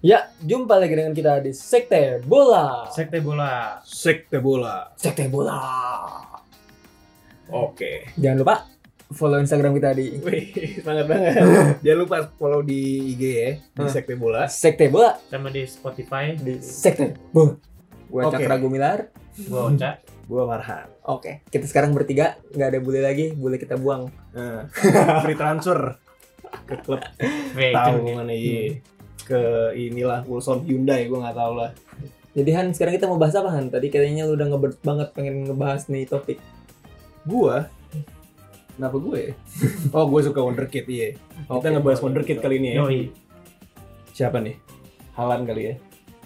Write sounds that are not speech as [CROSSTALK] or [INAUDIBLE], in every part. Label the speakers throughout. Speaker 1: Ya, jumpa lagi dengan kita di Sekte Bola.
Speaker 2: Sekte bola.
Speaker 3: Sekte bola.
Speaker 1: Sekte Bola.
Speaker 3: Oke. [LAUGHS]
Speaker 1: Jangan lupa follow Instagram kita di
Speaker 3: Wih, semangat banget. [LAUGHS] Jangan lupa follow di IG ya, di
Speaker 1: Hah.
Speaker 3: Sekte Bola.
Speaker 1: Sekte Bola
Speaker 2: Sama di Spotify,
Speaker 1: di Sekte Bola. Gua
Speaker 3: Oke.
Speaker 1: Cakra Gumilar.
Speaker 2: gua Oca.
Speaker 3: Gua Farhan.
Speaker 1: Oke, kita sekarang bertiga, nggak ada bule lagi, bule kita buang.
Speaker 3: Nah, [LAUGHS] free transfer ke klub
Speaker 2: Weh,
Speaker 3: [LAUGHS] tahu
Speaker 2: itu
Speaker 3: mana iya. Ke inilah Wilson Hyundai, gua nggak tahu lah.
Speaker 1: Jadi Han, sekarang kita mau bahas apa Han? Tadi kayaknya lu udah ngebet banget pengen ngebahas nih topik.
Speaker 3: Gua Kenapa gue? ya? [LAUGHS] Oh, gue suka Wonderkid, iya. Kita
Speaker 1: Oke.
Speaker 3: ngebahas Wonderkid kali ini ya.
Speaker 2: Yoi,
Speaker 3: Siapa nih? Halan kali ya.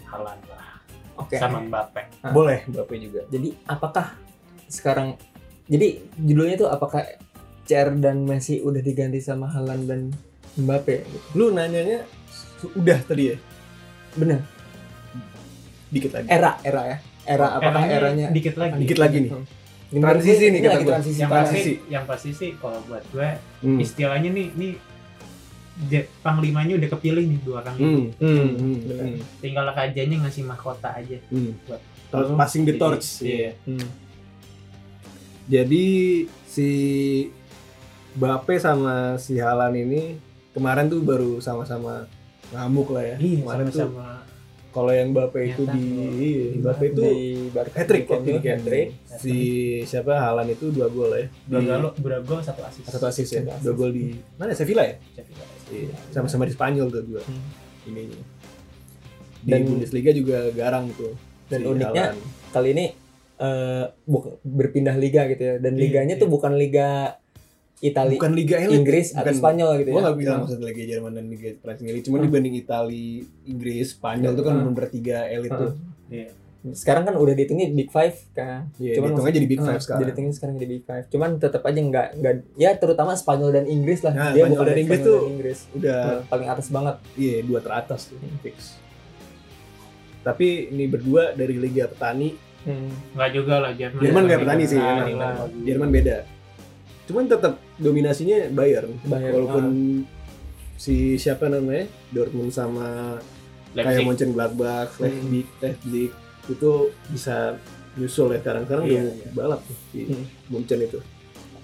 Speaker 2: Halan lah.
Speaker 1: Oke.
Speaker 2: Sama Mbappe. Eh,
Speaker 1: Hah.
Speaker 3: Boleh, Bapak juga.
Speaker 1: Jadi apakah sekarang jadi judulnya tuh apakah CR dan Messi udah diganti sama Haaland dan Mbappe?
Speaker 3: Lu nanyanya su- udah tadi ya?
Speaker 1: Bener.
Speaker 3: Dikit lagi.
Speaker 1: Era, era ya. Era apakah eranya
Speaker 2: Dikit lagi.
Speaker 3: Dikit lagi nih.
Speaker 1: Hmm.
Speaker 3: Transisi nih
Speaker 1: Ini
Speaker 3: kata
Speaker 1: lagi
Speaker 3: gua.
Speaker 1: transisi
Speaker 2: Yang
Speaker 1: parah.
Speaker 2: pasti, yang pasti sih kalau buat gue
Speaker 3: Hmm.
Speaker 2: istilahnya nih nih de- panglimanya udah kepilih nih dua orang ini.
Speaker 3: Hmm. Hmm. Hmm.
Speaker 1: Bener.
Speaker 2: Tinggal rajanya ngasih mahkota aja.
Speaker 3: Hmm.
Speaker 2: Buat-
Speaker 3: Torch- Passing the
Speaker 2: Jadi,
Speaker 3: torch.
Speaker 2: Iya.
Speaker 3: Hmm. Jadi si Bape sama si Halan ini kemarin tuh baru sama-sama ngamuk lah ya.
Speaker 2: Iya,
Speaker 3: kemarin tuh
Speaker 2: sama-sama
Speaker 3: kalau yang Bape itu
Speaker 2: Nyata.
Speaker 3: di iya,
Speaker 2: Di
Speaker 3: Bape itu
Speaker 1: di Bar
Speaker 3: hat trick
Speaker 1: di
Speaker 3: waktu itu
Speaker 1: Kemil, hat-trick.
Speaker 3: Si siapa Halan itu dua gol ya.
Speaker 2: dua
Speaker 3: Di-
Speaker 2: gol, dua gol satu asis.
Speaker 3: Satu asis ya.
Speaker 1: Satu asis.
Speaker 3: Dua gol di mana ya? Sevilla ya? Iya. Sama-sama di Spanyol tuh dua
Speaker 1: Hmm.
Speaker 3: ininya. Di
Speaker 1: Dan-
Speaker 3: Bundesliga juga garang tuh.
Speaker 1: Dan
Speaker 3: si
Speaker 1: uniknya
Speaker 3: Haaland.
Speaker 1: kali ini eh, buk- berpindah liga gitu ya. Dan
Speaker 2: Iya,
Speaker 1: liganya
Speaker 2: iya.
Speaker 1: tuh bukan liga Italia,
Speaker 3: bukan Liga Elit.
Speaker 1: Inggris atau
Speaker 3: bukan-
Speaker 1: Spanyol gitu
Speaker 3: Gue
Speaker 1: ya.
Speaker 3: gak bilang maksud Liga Jerman dan Liga Prancis Liga Cuman dibanding Itali, Inggris, Spanyol itu kan
Speaker 1: Hmm.
Speaker 3: bener-bener tiga elit
Speaker 1: Hmm.
Speaker 3: tuh
Speaker 2: Iya.
Speaker 1: Sekarang kan udah dihitungnya Big Five kan.
Speaker 3: Iya,
Speaker 1: Cuman
Speaker 3: dihitungnya jadi Big
Speaker 1: Eh,
Speaker 3: Five
Speaker 1: Jadi
Speaker 3: sekarang
Speaker 1: tinggi sekarang jadi Big Five. Cuman tetap aja nggak nggak ya terutama Spanyol dan Inggris lah.
Speaker 3: Nah,
Speaker 1: Dia
Speaker 3: Spanyol
Speaker 1: bukan
Speaker 3: dan Inggris
Speaker 1: Spanyol
Speaker 3: tuh-
Speaker 1: dan Inggris.
Speaker 3: Udah,
Speaker 1: paling atas banget.
Speaker 3: iya dua teratas tuh fix Tapi ini berdua dari Liga Petani
Speaker 2: Enggak juga lah Jerman.
Speaker 3: Jerman
Speaker 2: Tapi
Speaker 3: nggak petani sih,
Speaker 2: petani
Speaker 3: emang.
Speaker 2: lah.
Speaker 3: Jerman beda Cuman tetap dominasinya Bayern
Speaker 1: Bayern, ah.
Speaker 3: Walaupun si siapa namanya Dortmund sama kayak
Speaker 2: Leipzig.
Speaker 3: Mönchengladbach,
Speaker 1: Hmm.
Speaker 3: Leipzig, Leipzig Itu bisa nyusul ya sekarang-sekarang
Speaker 2: Iya,
Speaker 3: udah
Speaker 2: iya.
Speaker 3: balap tuh di
Speaker 1: Hmm.
Speaker 3: Munchen itu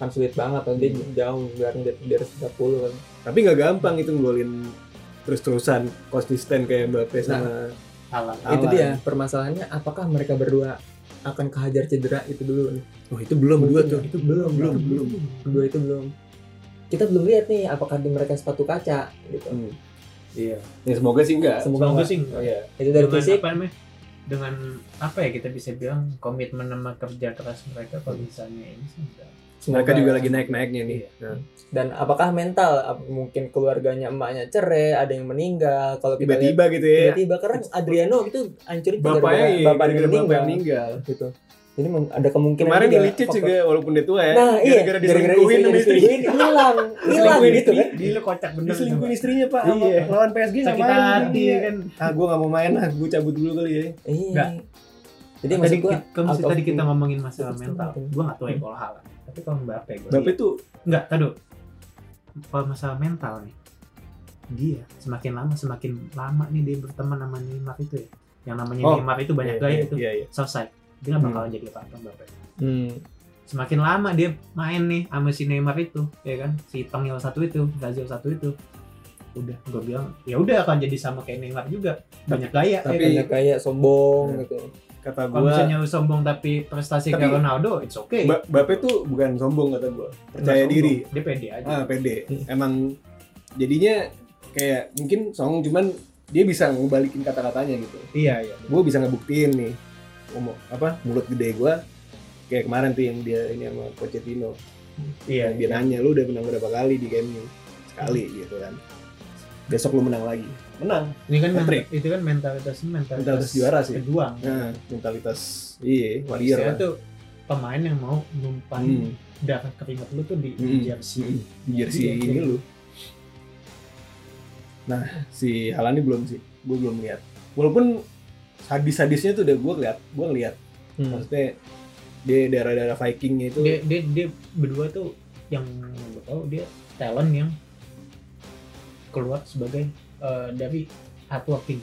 Speaker 1: Akan sulit banget kan dia jauh biarnya dia dia harus 30 kan.
Speaker 3: tapi nggak gampang itu nggolin terus-terusan konsisten kayak Mbappe sama
Speaker 2: Halan.
Speaker 1: Itu
Speaker 3: Alan.
Speaker 1: dia permasalahannya apakah mereka berdua akan kehajar cedera itu dulu nih.
Speaker 3: oh itu belum dua tuh
Speaker 1: Itu belum,
Speaker 3: belum belum
Speaker 1: Dua itu belum. Kita belum lihat nih apakah di mereka sepatu kaca gitu.
Speaker 3: Hmm.
Speaker 2: Iya.
Speaker 3: ya semoga sih enggak
Speaker 1: Semoga
Speaker 2: Semoga
Speaker 1: nggak.
Speaker 2: sih nggak.
Speaker 3: oh, iya.
Speaker 1: itu dari
Speaker 2: dengan
Speaker 1: fisik
Speaker 2: apa namanya dengan apa ya kita bisa bilang komitmen sama kerja keras mereka kalau misalnya ini sih enggak.
Speaker 3: mereka
Speaker 1: semoga
Speaker 3: juga
Speaker 1: ya.
Speaker 3: lagi naik-naiknya nih
Speaker 2: Iya.
Speaker 3: Nah,
Speaker 1: dan apakah mental Ap- mungkin keluarganya emaknya cerai ada yang meninggal kalau kita lihat Iya.
Speaker 3: tiba-tiba gitu ya
Speaker 1: tiba-tiba karena Adriano itu hancurin tuh
Speaker 3: bapaknya
Speaker 1: gara-gara
Speaker 3: iya,
Speaker 1: bapaknya
Speaker 3: gara-gara
Speaker 1: meninggal,
Speaker 3: bapak meninggal
Speaker 1: gitu jadi mem- ada kemungkinan
Speaker 3: kemarin
Speaker 1: juga
Speaker 3: Ilicic
Speaker 1: faktor-
Speaker 3: juga walaupun dia tua ya
Speaker 1: nah iya
Speaker 3: gara-gara
Speaker 1: gara-gara istrinya
Speaker 3: diselingkuhin sama istri
Speaker 1: diselingkuhin hilang hilang
Speaker 3: Diselingkuhin
Speaker 1: gitu kan
Speaker 2: Gila kocak bener.
Speaker 3: diselingkuhin istrinya pak
Speaker 2: Iya.
Speaker 3: sama- lawan PSG
Speaker 2: Sakit
Speaker 3: sama
Speaker 2: hati kan.
Speaker 3: ah gue nggak mau main ah gue cabut dulu kali ya
Speaker 1: iya
Speaker 2: Nggak.
Speaker 1: jadi
Speaker 2: Tadi,
Speaker 1: maksud gua
Speaker 2: kita- kalau misalnya
Speaker 1: out of
Speaker 2: tadi kita
Speaker 1: the-
Speaker 2: ngomongin masalah
Speaker 1: out of
Speaker 2: mental,
Speaker 1: the-
Speaker 2: gua nggak tahu ya kalau hal. Tapi kalau Mbappe, gua
Speaker 3: Mbappe
Speaker 2: lihat-
Speaker 3: tuh
Speaker 2: nggak, tahu. Kalau masalah mental nih, dia semakin lama semakin lama nih dia berteman sama Neymar itu ya. Yang namanya
Speaker 3: Oh,
Speaker 2: Neymar itu banyak
Speaker 3: Iya,
Speaker 2: gaya
Speaker 3: iya,
Speaker 2: itu
Speaker 3: iya, iya.
Speaker 2: selesai. Dia nggak bakalan jadi apa-apa Mbappe.
Speaker 1: hmm.
Speaker 2: semakin lama dia main nih sama si Neymar itu ya kan si tengil satu itu Brazil satu itu udah gue bilang ya udah akan jadi sama kayak Neymar juga banyak gaya ya
Speaker 3: Tapi-
Speaker 2: kan?
Speaker 1: banyak kayak sombong
Speaker 3: Iya.
Speaker 1: gitu
Speaker 3: kata
Speaker 2: kalau
Speaker 3: gue
Speaker 2: misalnya lu sombong tapi prestasi
Speaker 3: Tapi-
Speaker 2: kayak Ronaldo it's okay
Speaker 3: Bape tuh bukan sombong kata gue
Speaker 2: Nggak
Speaker 3: percaya
Speaker 2: sombong,
Speaker 3: diri
Speaker 2: dia pede aja
Speaker 3: ah pede
Speaker 1: Hmm.
Speaker 3: emang jadinya kayak mungkin song cuman dia bisa ngebalikin kata-katanya gitu
Speaker 2: iya iya
Speaker 3: gue bisa ngebuktiin nih ngomong apa mulut gede gue kayak kemarin tuh yang dia ini sama Pochettino
Speaker 2: iya Hmm.
Speaker 3: yang dia nanya lu udah menang berapa kali di game ini sekali gitu kan besok lu menang lagi menang
Speaker 2: ini kan men-
Speaker 3: Patrick.
Speaker 2: itu kan mentalitas mentalitas,
Speaker 3: Mentalitas juara sih.
Speaker 2: pejuang
Speaker 3: nah mentalitas iya warrior
Speaker 2: Istilahnya
Speaker 3: lah
Speaker 2: tuh pemain yang mau numpahin
Speaker 3: hmm.
Speaker 2: darah keringat lu tuh di
Speaker 3: Hmm.
Speaker 2: di jersey
Speaker 3: Hmm. jersey
Speaker 2: Iya,
Speaker 3: ini
Speaker 2: iya.
Speaker 3: lu nah si Halani belum sih gue belum lihat walaupun hadis-hadisnya tuh udah gue lihat gue ngeliat
Speaker 1: Hmm.
Speaker 3: maksudnya dia daerah-daerah Vikingnya itu
Speaker 2: dia dia dia berdua tuh yang gue tahu dia talent yang keluar sebagai eh, dari hard working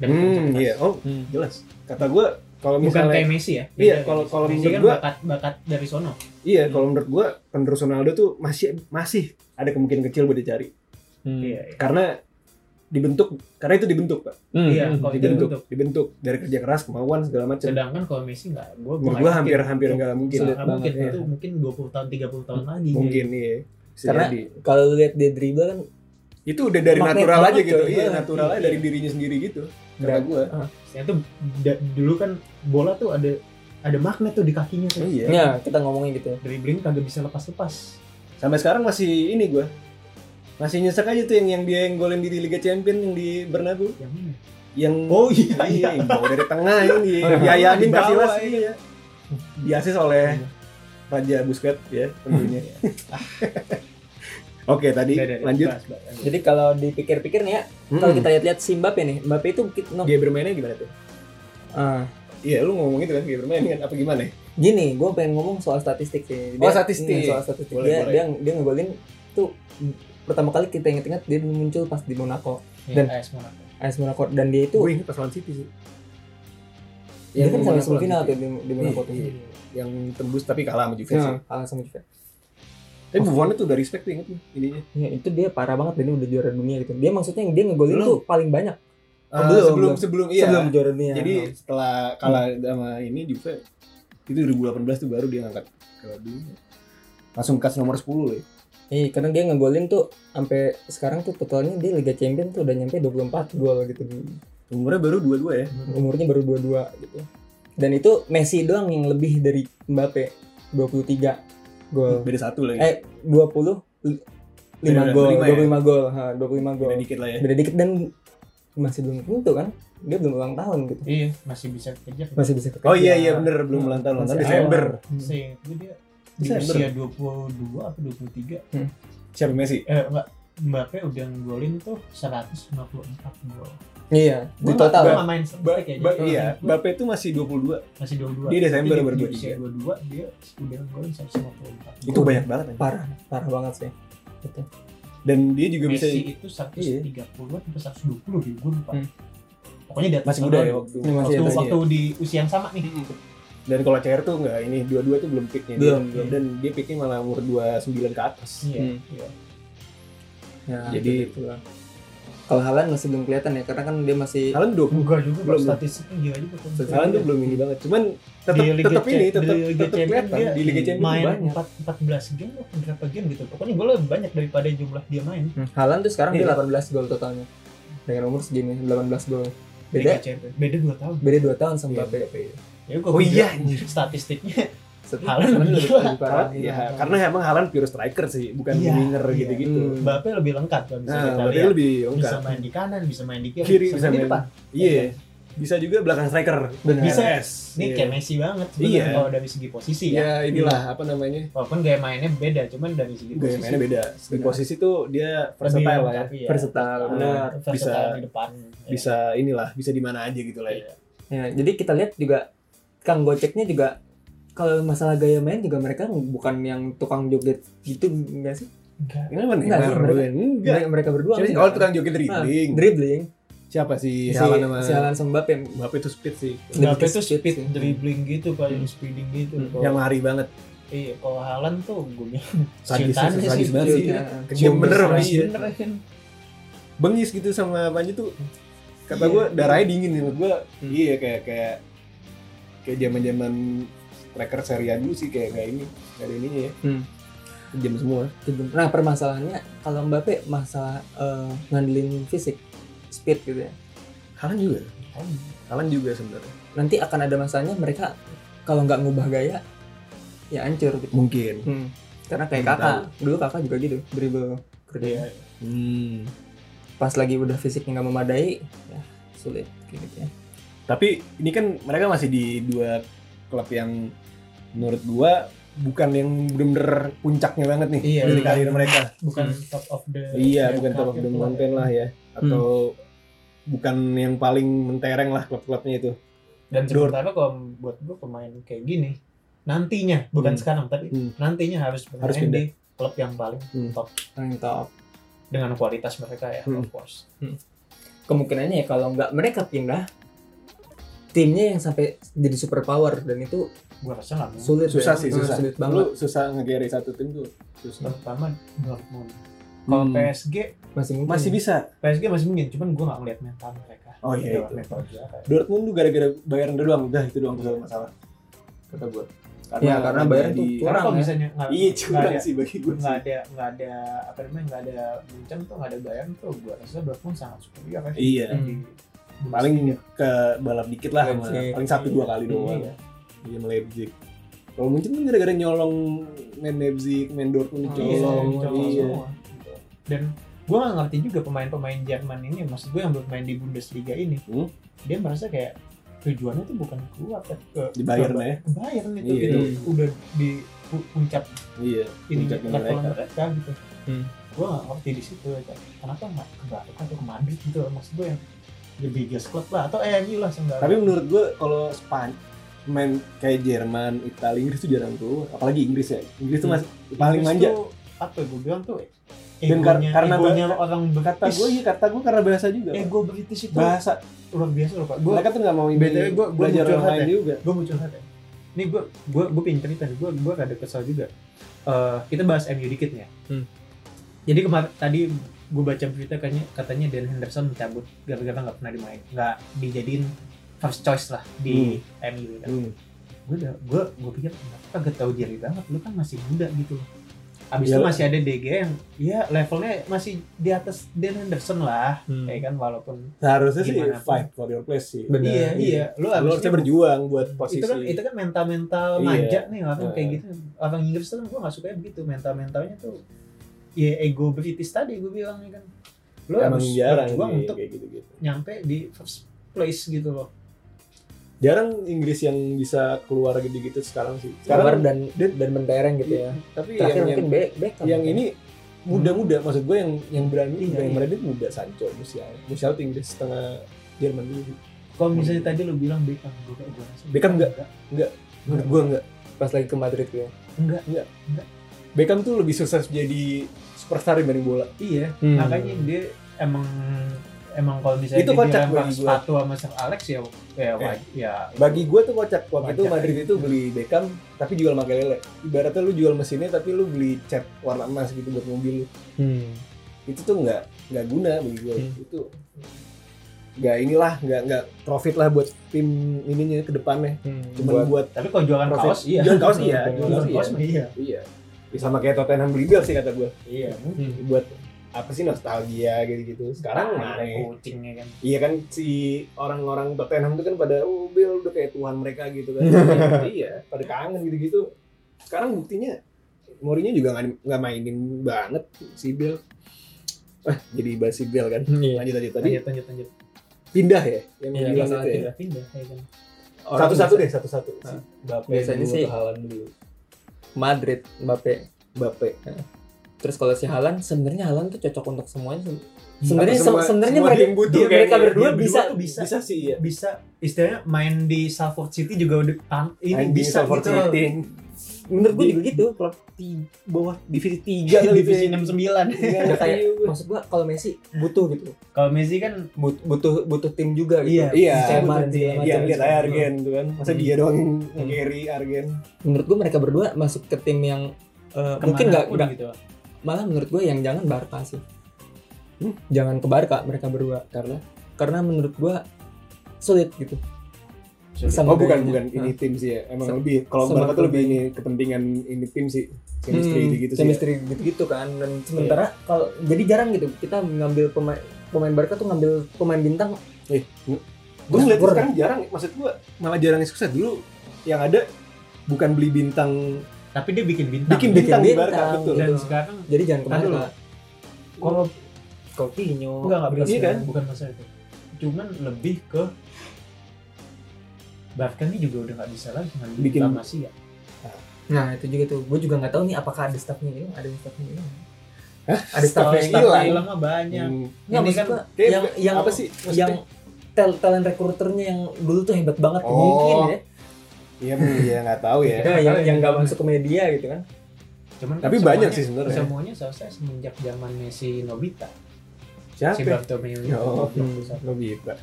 Speaker 2: dari kerja
Speaker 3: hmm
Speaker 2: keras.
Speaker 3: iya oh
Speaker 1: Hmm.
Speaker 3: jelas kata gue kalau
Speaker 2: bukan
Speaker 3: misalnya
Speaker 2: kayak Messi ya
Speaker 3: Iya,
Speaker 2: Beda
Speaker 3: kalau-
Speaker 2: Messi.
Speaker 3: kalau
Speaker 2: Messi
Speaker 3: menurut
Speaker 2: kan
Speaker 3: gua-
Speaker 2: bakat bakat dari sono
Speaker 3: iya kalau menurut gue penerus Ronaldo tuh masih masih ada kemungkinan kecil buat dicari
Speaker 1: Hmm.
Speaker 2: iya iya
Speaker 3: karena dibentuk karena itu dibentuk pak
Speaker 1: Hmm.
Speaker 2: Iya,
Speaker 1: Hmm.
Speaker 2: kalau- Oh, itu
Speaker 3: dibentuk
Speaker 2: dibentuk.
Speaker 3: dibentuk dari kerja keras kemauan segala macam
Speaker 2: sedangkan kalau Messi nggak gue
Speaker 3: menurut gue hampir hampir nggak mungkin
Speaker 1: Sulit
Speaker 2: nggak mungkin
Speaker 3: banget, iya.
Speaker 2: itu mungkin 20 tahun 30 tahun lagi
Speaker 3: mungkin iya Bisa
Speaker 1: Karena-
Speaker 3: jadi.
Speaker 1: Kalau lu lihat dia dribble kan
Speaker 3: itu udah dari
Speaker 1: Magnet
Speaker 3: natural
Speaker 1: banget,
Speaker 3: aja gitu
Speaker 1: coy.
Speaker 3: iya
Speaker 1: Iya.
Speaker 3: natural aja dari dirinya sendiri gitu kata
Speaker 1: Dan-
Speaker 3: gue
Speaker 2: Ya tuh da- dulu kan bola tuh ada ada magnet tuh di kakinya tuh.
Speaker 3: iya
Speaker 1: ya kita ngomongin gitu ya.
Speaker 2: Dribbling kagak bisa lepas-lepas.
Speaker 3: sampai sekarang masih ini gue masih nyesek aja tuh yang yang dia yang golin di Liga Champion yang di Bernabeu
Speaker 2: Yang mana?
Speaker 3: yang
Speaker 2: Oh
Speaker 3: [LAUGHS]
Speaker 2: iya iya.
Speaker 3: yang bawa dari tengah ini
Speaker 1: Oh,
Speaker 3: diayanin
Speaker 2: di
Speaker 3: kasih
Speaker 2: bawah,
Speaker 3: las iya diasis oleh Raja Busquets ya tentunya oke tadi
Speaker 2: Udah, Nah, udah, udah.
Speaker 3: lanjut
Speaker 2: Bahas, bahas, lanjut.
Speaker 1: Jadi kalau dipikir-pikir nih ya,
Speaker 3: Hmm.
Speaker 1: kalau kita lihat-lihat si Mbappe nih, Mbappe itu kita- no-
Speaker 3: dia bermainnya gimana tuh
Speaker 1: Ah,
Speaker 3: iya lu ngomong itu kan dia bermain kan apa gimana ya?
Speaker 1: gini, gue pengen ngomong soal statistik sih.
Speaker 3: Oh, statistik.
Speaker 1: iya, soal statistik.
Speaker 3: Boleh,
Speaker 1: dia,
Speaker 3: boleh.
Speaker 1: dia dia ngegolin tuh mm, pertama kali kita inget-inget dia muncul pas di Monaco,
Speaker 2: Nih,
Speaker 1: Dan-
Speaker 2: AS Monaco.
Speaker 1: AS Monaco dan dia
Speaker 3: Gue
Speaker 1: itu
Speaker 3: inget pas lawan City sih
Speaker 1: dia kan sampai
Speaker 3: Monaco
Speaker 1: semifinal
Speaker 3: lawan
Speaker 1: tuh
Speaker 3: City.
Speaker 1: di, di Monaco tuh.
Speaker 3: Iya, iya. yang tembus tapi kalah sama Juve sih
Speaker 1: Nah, kalah sama Juve.
Speaker 3: tapi Buffon itu udah respect tuh inget tuh ininya
Speaker 1: Ya, itu dia parah banget dan dia udah juara dunia gitu. Dia maksudnya yang dia ngegolin
Speaker 3: Belum.
Speaker 1: tuh paling banyak
Speaker 3: Eh,
Speaker 1: belum,
Speaker 3: sebelum
Speaker 1: belum.
Speaker 3: sebelum iya
Speaker 1: sebelum juara dunia.
Speaker 3: jadi setelah kalah sama ini Juve itu 2018 tuh baru dia ngangkat Piala Dunia. langsung kas nomor 10 loh ya.
Speaker 1: Iya, karena dia ngegolin tuh sampai sekarang tuh totalnya dia Liga Champion tuh udah nyampe 24 gol gitu di
Speaker 3: umurnya baru dua-dua ya
Speaker 1: umurnya baru 22 gitu. Dan itu Messi doang yang lebih dari Mbappe 23 gol.
Speaker 3: beda satu lagi
Speaker 1: Eh 20 li- lima
Speaker 3: Beda
Speaker 1: gol,
Speaker 3: 25 Hmm. ya?
Speaker 1: 25 gol, ha, 25 gol.
Speaker 3: beda dikit lah ya
Speaker 1: Beda dikit dan masih belum tentu kan. Dia belum ulang tahun gitu.
Speaker 2: Iya, masih bisa kerja.
Speaker 1: Masih bisa kekejar.
Speaker 3: oh iya iya bener belum
Speaker 1: Hmm.
Speaker 3: ulang tahun ulang tahun
Speaker 1: Masih
Speaker 3: Desember
Speaker 1: awal. Hmm.
Speaker 2: Seingat gue dia di
Speaker 3: Desember.
Speaker 2: usia 22 atau 23
Speaker 3: siapa Messi
Speaker 2: eh enggak Mbappe udah ngegolin tuh 154 gol.
Speaker 1: Iya, di
Speaker 2: Gua
Speaker 1: total.
Speaker 2: nggak- gua
Speaker 1: ya.
Speaker 2: nggak main
Speaker 3: Ba
Speaker 2: statistik ya.
Speaker 3: ba-
Speaker 2: jadi
Speaker 3: iya,
Speaker 2: gua
Speaker 3: Bape itu masih 22.
Speaker 2: masih 22.
Speaker 3: Dia Desember
Speaker 2: Jadi
Speaker 3: baru
Speaker 2: di usia 22 dia udah ngegolin 154.
Speaker 3: Itu
Speaker 2: gol.
Speaker 3: banyak banget. anjing.
Speaker 1: Parah, parah banget sih. Gitu.
Speaker 3: Dan dia juga bisa Iya.
Speaker 2: Messi itu 130 sampai 120 di gue lupa.
Speaker 1: Hmm.
Speaker 2: Pokoknya di atas
Speaker 3: masih Hmm. muda ya
Speaker 2: Ronaldo.
Speaker 3: waktu.
Speaker 1: Ini masih
Speaker 2: Waktu,
Speaker 1: atasnya.
Speaker 2: waktu di usia yang sama nih.
Speaker 3: Dan kalau CR tuh enggak ini dua-dua tuh belum picknya dia.
Speaker 1: Belum, belum.
Speaker 3: Dan dia picknya malah umur 29 ke atas.
Speaker 2: Iya,
Speaker 1: Hmm.
Speaker 2: iya.
Speaker 1: Ya,
Speaker 3: Jadi-
Speaker 1: gitu lah. kalau Halan masih belum kelihatan ya karena kan dia masih
Speaker 3: Haaland 20
Speaker 2: Enggak juga
Speaker 3: Belum.
Speaker 2: belum statistiknya gila juga tuh.
Speaker 3: Sekarang tuh belum ini banget. Cuman tetap
Speaker 2: Di Liga
Speaker 3: tetap ini
Speaker 2: Champ-
Speaker 3: tetap
Speaker 2: di Liga
Speaker 3: tetap
Speaker 2: Champion
Speaker 3: kelihatan
Speaker 2: dia
Speaker 3: di Liga Champions tuh
Speaker 2: main
Speaker 3: banyak.
Speaker 2: 4 14 game atau berapa game gitu. Pokoknya gue lebih banyak daripada jumlah dia main.
Speaker 1: Hmm, Haaland tuh sekarang
Speaker 3: Iya.
Speaker 1: dia 18 gol totalnya dengan umur segini 18 gol
Speaker 2: Liga
Speaker 1: beda
Speaker 2: Champions. Beda 2 tahun.
Speaker 1: beda 2 tahun sama
Speaker 3: Iya,
Speaker 1: Mbappe
Speaker 2: Ya gua bilang,
Speaker 3: Oh
Speaker 2: [LAUGHS]
Speaker 3: iya, anjir.
Speaker 2: statistiknya
Speaker 1: Setelah-
Speaker 2: Haaland
Speaker 1: Haaland
Speaker 2: lebih
Speaker 1: lebih
Speaker 2: gila.
Speaker 1: lebih parah Iya.
Speaker 3: Haaland, ya, karena emang Haaland pure striker sih, bukan
Speaker 2: Iya,
Speaker 3: winger
Speaker 2: iya.
Speaker 3: gitu-gitu.
Speaker 1: Hmm.
Speaker 2: Mbappe lebih lengkap kan bisa
Speaker 3: Nah,
Speaker 2: kita
Speaker 3: berarti
Speaker 2: lihat.
Speaker 3: lebih
Speaker 2: Bisa
Speaker 3: lengkap.
Speaker 2: main di kanan, bisa main di kiri,
Speaker 3: Kiri bisa
Speaker 2: di
Speaker 3: main.
Speaker 2: depan.
Speaker 3: Iya. Bisa juga belakang striker.
Speaker 1: Benar.
Speaker 2: Bisa.
Speaker 3: RS.
Speaker 2: Ini
Speaker 3: Iya.
Speaker 2: kayak Messi banget
Speaker 3: Iya.
Speaker 2: sebenarnya kalau dari segi posisi ya.
Speaker 3: Ya inilah apa namanya?
Speaker 2: Walaupun gaya mainnya beda, cuman dari segi
Speaker 3: Gaya mainnya
Speaker 2: posisi
Speaker 3: beda. Di
Speaker 1: Benar.
Speaker 3: posisi tuh dia
Speaker 2: lebih
Speaker 3: versatile lah ya.
Speaker 2: lengkap, iya.
Speaker 1: versatile benar
Speaker 2: Versatile
Speaker 3: Bisa-
Speaker 2: di depan.
Speaker 3: Bisa inilah, bisa di mana aja gitu lah. ya.
Speaker 2: Iya.
Speaker 1: ya, jadi kita lihat juga Kang Goceknya juga kalau masalah gaya main juga mereka bukan yang tukang joget gitu enggak sih
Speaker 2: Enggak.
Speaker 3: Ini
Speaker 1: Enggak
Speaker 3: mana?
Speaker 1: sih,
Speaker 3: Neymar,
Speaker 1: mereka-
Speaker 3: bukan? Enggak.
Speaker 1: Mereka- mereka berdua
Speaker 3: Siapa sih?
Speaker 1: enggak.
Speaker 3: Kalau tukang joget
Speaker 1: Ah,
Speaker 3: dribbling.
Speaker 1: dribbling
Speaker 3: Siapa sih?
Speaker 1: si
Speaker 3: Haaland sama
Speaker 1: si Haaland sama Mbappe
Speaker 3: Mbappe itu speed sih.
Speaker 2: Mbappe
Speaker 1: Lebih
Speaker 2: itu
Speaker 1: ke
Speaker 2: speed,
Speaker 1: speed sih.
Speaker 2: dribbling gitu kan,
Speaker 1: Hmm.
Speaker 2: speeding gitu.
Speaker 1: Hmm.
Speaker 2: Kalau-
Speaker 3: Yang lari banget.
Speaker 2: Iya, kalau Haaland tuh gue bilang Sultan
Speaker 3: Sadis, sadis,
Speaker 2: sih,
Speaker 3: sadis banget sih.
Speaker 1: Iya.
Speaker 3: Kecium bener iya. sama
Speaker 2: Bener,
Speaker 3: dia.
Speaker 2: bener kan.
Speaker 3: bengis gitu sama Panji tuh kata
Speaker 2: Iya.
Speaker 3: gue darahnya dingin nih menurut gue
Speaker 1: Hmm.
Speaker 3: iya kayak kayak kayak zaman zaman striker serian dulu sih kayak nggak ini nggak ada ininya ya
Speaker 1: Hmm.
Speaker 3: jam semua
Speaker 1: Nah permasalahannya kalau Mbappe masalah eh, ngandelin fisik, speed gitu ya.
Speaker 3: Halan juga Halan juga sebenarnya
Speaker 1: Nanti akan ada masalahnya mereka kalau nggak ngubah gaya ya hancur gitu.
Speaker 3: mungkin
Speaker 1: Hmm. Karena kayak
Speaker 3: Nggak
Speaker 1: kakak, dulu kakak juga gitu dribble kerja.
Speaker 2: Iya.
Speaker 3: hmm.
Speaker 1: Pas lagi udah fisiknya nggak memadai, ya sulit gitu ya.
Speaker 3: tapi ini kan mereka masih di dua klub yang menurut gue bukan yang bener-bener puncaknya banget nih
Speaker 2: Iya,
Speaker 3: dari
Speaker 1: iya.
Speaker 3: karir mereka
Speaker 2: Bukan top of the gitu
Speaker 3: iya
Speaker 2: the
Speaker 3: bukan top of the
Speaker 2: market
Speaker 3: mountain
Speaker 2: lah.
Speaker 3: lah ya atau bukan yang paling mentereng lah klub-klubnya itu.
Speaker 2: Dan
Speaker 3: Dor.
Speaker 2: sementara kalau buat gue pemain kayak gini nantinya bukan
Speaker 3: Hmm.
Speaker 2: sekarang tapi
Speaker 3: Hmm.
Speaker 2: nantinya harus bermain
Speaker 3: Harus
Speaker 2: di
Speaker 3: pindah.
Speaker 2: klub yang paling
Speaker 3: Hmm.
Speaker 2: top
Speaker 1: Yang top.
Speaker 2: dengan kualitas mereka ya
Speaker 3: Hmm.
Speaker 2: of course.
Speaker 1: Kemungkinannya ya kalau nggak mereka pindah timnya yang sampai jadi superpower dan itu
Speaker 2: Gue rasa nggak mungkin.
Speaker 1: sulit
Speaker 3: Susah
Speaker 1: ya.
Speaker 3: sih,
Speaker 1: Hmm,
Speaker 3: susah.
Speaker 1: sulit
Speaker 3: Lu
Speaker 1: banget
Speaker 3: susah ngegere satu tim tuh. Susah.
Speaker 2: Terutama Dortmund. Kalau
Speaker 3: Hmm.
Speaker 2: PSG,
Speaker 1: masih mungkin ya.
Speaker 3: Masih bisa.
Speaker 2: PSG masih mungkin, cuman gue nggak ngeliat mental mereka.
Speaker 3: Oh
Speaker 2: Nggak
Speaker 3: iya itu.
Speaker 2: mental juara.
Speaker 3: Dortmund tuh gara-gara Bayern doang udah itu doang tuh masalah. Kata gua.
Speaker 1: Iya, karena Bayern tuh
Speaker 3: di-
Speaker 1: Kurang
Speaker 2: Karena kalau
Speaker 1: ya?
Speaker 2: misalnya nggak
Speaker 3: Iya,
Speaker 2: nggak
Speaker 3: curang
Speaker 2: ada-
Speaker 3: sih bagi gua sih.
Speaker 2: nggak ada nggak ada apa namanya nggak ada Munchen tuh nggak ada Bayern tuh gue rasa Dortmund sangat superior kan Iya,
Speaker 3: Iya.
Speaker 2: Di- di-
Speaker 3: Paling ke balap dikit lah sama-
Speaker 1: Leipzig.
Speaker 3: paling satu dua kali doang.
Speaker 2: Iya.
Speaker 3: Iya Leipzig. Kalau mungkin kan gara-gara nyolong main Leipzig, main
Speaker 1: Oh,
Speaker 3: Dortmund
Speaker 2: Iya,
Speaker 3: dicolong.
Speaker 2: colong
Speaker 3: iya.
Speaker 2: semua. Gitu. dan gue nggak ngerti juga pemain-pemain Jerman ini maksud gue yang bermain di Bundesliga ini
Speaker 3: Hmm.
Speaker 2: dia merasa kayak tujuannya tuh bukan keluar ke, ke
Speaker 3: Di Bayern
Speaker 2: ke-
Speaker 3: ya.
Speaker 2: ke Bayern itu
Speaker 3: Iya.
Speaker 2: gitu. udah di pu- puncak
Speaker 3: Iya.
Speaker 2: ini
Speaker 3: Puncaknya
Speaker 2: level
Speaker 3: mereka.
Speaker 2: mereka gitu
Speaker 1: Hmm.
Speaker 2: gue gak ngerti di situ ya, kayak, kenapa nggak ke Barca atau ke Madrid gitu maksud gue yang the biggest club lah atau MU lah seenggaknya
Speaker 3: Tapi menurut gue kalau Span main kayak Jerman, Italia, Inggris tuh jarang keluar. Apalagi Inggris ya. Inggris
Speaker 2: Hmm.
Speaker 3: tuh masih paling
Speaker 2: Terus
Speaker 3: manja.
Speaker 2: tuh, apa gue bilang tuh
Speaker 3: Dan
Speaker 2: egonya,
Speaker 3: kar- karena
Speaker 2: karena egonya
Speaker 3: Barca-
Speaker 2: orang
Speaker 3: Kata
Speaker 2: British
Speaker 3: gue iya, kata gue karena bahasa juga.
Speaker 2: ego British itu
Speaker 3: bahasa.
Speaker 2: luar biasa loh pak gue
Speaker 3: Mereka tuh nggak mau ini
Speaker 2: BTW gua- gua
Speaker 3: belajar
Speaker 2: muncul
Speaker 3: orang lain
Speaker 2: hati.
Speaker 3: juga.
Speaker 2: gue muncul hati ya. ini gue gue gue pengen cerita gue gue rada kesel juga Eh, kita bahas MU dikit nih ya
Speaker 1: Hmm.
Speaker 2: jadi kemarin tadi gue baca berita katanya katanya Dan Henderson mencabut gara-gara nggak pernah dimain nggak dijadiin first choice lah di MU kan
Speaker 3: Hmm.
Speaker 2: gue udah gue gue pikir kenapa gak tahu diri banget lu kan masih muda gitu loh abis
Speaker 3: Iya
Speaker 2: itu
Speaker 3: lah.
Speaker 2: masih ada DG yang ya levelnya masih di atas Dan Henderson lah
Speaker 1: Hmm.
Speaker 2: ya kan walaupun
Speaker 3: Seharusnya sih
Speaker 2: Gimana pun.
Speaker 3: fight for your place sih.
Speaker 1: Bener.
Speaker 2: iya iya lu
Speaker 3: Lu
Speaker 2: abis
Speaker 3: harusnya
Speaker 2: itu-
Speaker 3: berjuang buat posisi.
Speaker 2: itu kan itu kan mental mental
Speaker 3: Iya. Nah.
Speaker 2: manja nih orang kayak
Speaker 3: Heeh.
Speaker 2: gitu orang Inggris tuh gue nggak suka begitu mental mentalnya tuh ya ego British tadi gue bilang ya kan lu
Speaker 3: Emang
Speaker 2: harus
Speaker 3: jarang
Speaker 2: berjuang
Speaker 3: sih,
Speaker 2: untuk
Speaker 3: kayak gitu-gitu.
Speaker 2: nyampe di first place gitu loh
Speaker 3: Jarang Inggris yang bisa keluar gitu-gitu sekarang sih.
Speaker 1: Keluar
Speaker 3: Sekarang
Speaker 1: dan dan mentereng gitu ya
Speaker 3: tapi
Speaker 1: terakhir
Speaker 3: yang, yang,
Speaker 1: mungkin back back
Speaker 3: yang ini muda-muda maksud gue yang yang berani
Speaker 2: Hmm. Iya,
Speaker 3: yang
Speaker 2: iya.
Speaker 3: berani tuh muda Sancho Musial Musial tuh Inggris setengah Jerman dulu
Speaker 2: Iya.
Speaker 3: sih.
Speaker 2: kalau misalnya tadi lu bilang Beckham gue gue rasa
Speaker 3: Hmm. Beckham nggak? menurut gue enggak
Speaker 1: pas lagi ke Madrid ya
Speaker 2: enggak
Speaker 3: Beckham tuh lebih sukses jadi superstar dibanding bola Hmm.
Speaker 2: iya makanya dia emang emang kalau misalnya
Speaker 3: Itu
Speaker 2: dia
Speaker 3: kocak
Speaker 2: dilempar
Speaker 3: bagi gua. Eh,
Speaker 2: sepatu sama Sir Alex ya ya waj- ya
Speaker 3: bagi gue tuh kocak waktu itu
Speaker 2: Kocak. Hmm.
Speaker 3: Madrid itu beli Beckham tapi jual pakai lele ibaratnya lu jual mesinnya tapi lu beli cat warna emas gitu buat mobil lu itu tuh nggak nggak guna bagi gue
Speaker 1: Hmm.
Speaker 3: itu nggak inilah nggak nggak profit lah buat tim ininya ke depannya cuma
Speaker 1: hmm. Buat-
Speaker 3: buat
Speaker 2: tapi kalau jualan
Speaker 3: Profit.
Speaker 2: kaos iya
Speaker 3: Jualan kaos iya,
Speaker 2: jualan kaos
Speaker 3: jualan iya.
Speaker 2: mah iya
Speaker 3: iya Ya, sama kayak Tottenham beli Bell sih kata gue
Speaker 2: iya
Speaker 1: Hmm.
Speaker 3: buat apa sih nostalgia gitu-gitu. Sekarang
Speaker 1: Nah, oh.
Speaker 3: ya? aneh.
Speaker 2: kucingnya kan
Speaker 3: Iya kan si orang-orang Tottenham itu kan pada oh Bill udah kayak tuhan mereka gitu
Speaker 1: [LAUGHS]
Speaker 3: kan. [LAUGHS] iya, pada kangen gitu-gitu. Sekarang buktinya Mourinho juga nggak nggak mainin banget si Bill. Ah, jadi basi Bill kan.
Speaker 1: Iya.
Speaker 3: Lanjut lanjut tadi Iya.
Speaker 2: lanjut lanjut lanjut
Speaker 3: pindah ya yang
Speaker 1: Iya,
Speaker 3: bilang
Speaker 1: masalah
Speaker 3: itu ya.
Speaker 2: pindah pindah ya kan
Speaker 1: Orang Ah,
Speaker 3: Satu-satu
Speaker 1: biasa-
Speaker 3: deh, satu-satu. Si Bape
Speaker 1: Biasanya
Speaker 3: dulu,
Speaker 1: sih-
Speaker 3: Haaland dulu.
Speaker 1: Madrid Mbappe
Speaker 3: Bape.
Speaker 1: terus kalau si Halan sebenarnya Halan tuh cocok untuk semuanya sih.
Speaker 2: Hmm.
Speaker 1: sebenarnya
Speaker 3: Apa semua-
Speaker 1: sebenarnya
Speaker 3: semua
Speaker 1: mereka
Speaker 3: yang butuh
Speaker 1: dia- mereka
Speaker 3: kayaknya. ya.
Speaker 1: berdua
Speaker 2: Dia
Speaker 1: bisa
Speaker 2: berdua tuh bisa
Speaker 3: Bisa sih ya.
Speaker 2: bisa istilahnya main di Salford City juga udah tam- ini
Speaker 3: Anjing,
Speaker 2: bisa
Speaker 3: Salford
Speaker 2: gitu
Speaker 3: City.
Speaker 1: menurut gue
Speaker 3: Di-
Speaker 1: juga gitu klub
Speaker 3: Di bawah [LAUGHS] divisi
Speaker 2: Iya,
Speaker 3: 3
Speaker 2: divisi 69
Speaker 3: Iya,
Speaker 1: Udah kayak maksud gua kalau Messi butuh gitu
Speaker 2: kalau Messi kan
Speaker 1: But- butuh butuh tim juga gitu
Speaker 2: Iya.
Speaker 3: Iya.
Speaker 1: Skema dan segala
Speaker 3: Iya,
Speaker 1: macam. gitu.
Speaker 3: lihat aja Argen tuh kan. Masa
Speaker 1: Hmm.
Speaker 3: dia doang yang nge-carry Argen.
Speaker 1: menurut gue mereka berdua masuk ke tim yang eh, mungkin nggak
Speaker 2: kemanapun
Speaker 1: nggak-
Speaker 2: gitu
Speaker 1: malah menurut gue yang jangan Barca sih Hmm. jangan ke Barca mereka berdua
Speaker 3: Karena
Speaker 1: karena menurut gue sulit gitu
Speaker 2: Sulit.
Speaker 1: Sama
Speaker 3: Oh, bukan
Speaker 1: gayanya.
Speaker 3: bukan ini
Speaker 1: Nah,
Speaker 3: tim sih ya. Emang
Speaker 1: Sama-
Speaker 3: lebih kalau
Speaker 1: sama
Speaker 3: Barca tuh lebih ini
Speaker 1: gayanya.
Speaker 3: kepentingan ini tim sih. Chemistry
Speaker 1: hmm,
Speaker 3: gitu sih. ya. Iya.
Speaker 1: chemistry gitu-gitu kan dan sementara kalau jadi jarang gitu kita ngambil pemain pemain Barca tuh ngambil pemain bintang
Speaker 3: Eh, Gue ngeliat
Speaker 1: Kurang.
Speaker 3: sekarang jarang, maksud gue malah jarang yang sukses dulu. Yang ada bukan beli bintang,
Speaker 2: tapi dia bikin bintang
Speaker 3: bikin bintang, di
Speaker 1: bintang.
Speaker 3: Barca betul.
Speaker 2: dan
Speaker 1: Betul.
Speaker 2: sekarang
Speaker 1: jadi jangan ke
Speaker 2: Tadi
Speaker 1: Barca
Speaker 2: loh. kalau
Speaker 1: Coutinho
Speaker 2: enggak enggak
Speaker 3: Iya
Speaker 2: bukan-
Speaker 3: kan?
Speaker 2: bukan masalah itu cuman lebih ke bahkan ini juga udah nggak bisa lagi ngambil
Speaker 3: Bikin-
Speaker 2: reklamasi ya
Speaker 1: nah itu juga tuh gue juga nggak tahu nih apakah ada staffnya gitu ada yang staffnya gitu Ada staff yang
Speaker 2: Setahu
Speaker 1: hilang.
Speaker 2: yang hilang mah banyak.
Speaker 3: Hmm.
Speaker 1: Nggak,
Speaker 2: Ini
Speaker 1: maksud
Speaker 2: kan
Speaker 1: gua
Speaker 3: kayak
Speaker 1: yang yang
Speaker 3: apa sih? Maksudnya-
Speaker 1: yang tel talent rekruternya yang dulu tuh hebat banget
Speaker 3: Oh.
Speaker 1: mungkin ya.
Speaker 3: Iya, iya nggak tahu ya.
Speaker 1: Nah,
Speaker 2: nggak
Speaker 1: yang
Speaker 2: tahu
Speaker 1: yang
Speaker 2: ya.
Speaker 1: nggak masuk ke media gitu kan.
Speaker 2: Cuman
Speaker 3: Tapi
Speaker 2: semuanya-
Speaker 3: banyak sih sebenarnya.
Speaker 2: Semuanya selesai semenjak zaman Messi Nobita. Si
Speaker 3: Siapa?
Speaker 2: Bartomeu.
Speaker 3: Oh, Nobita.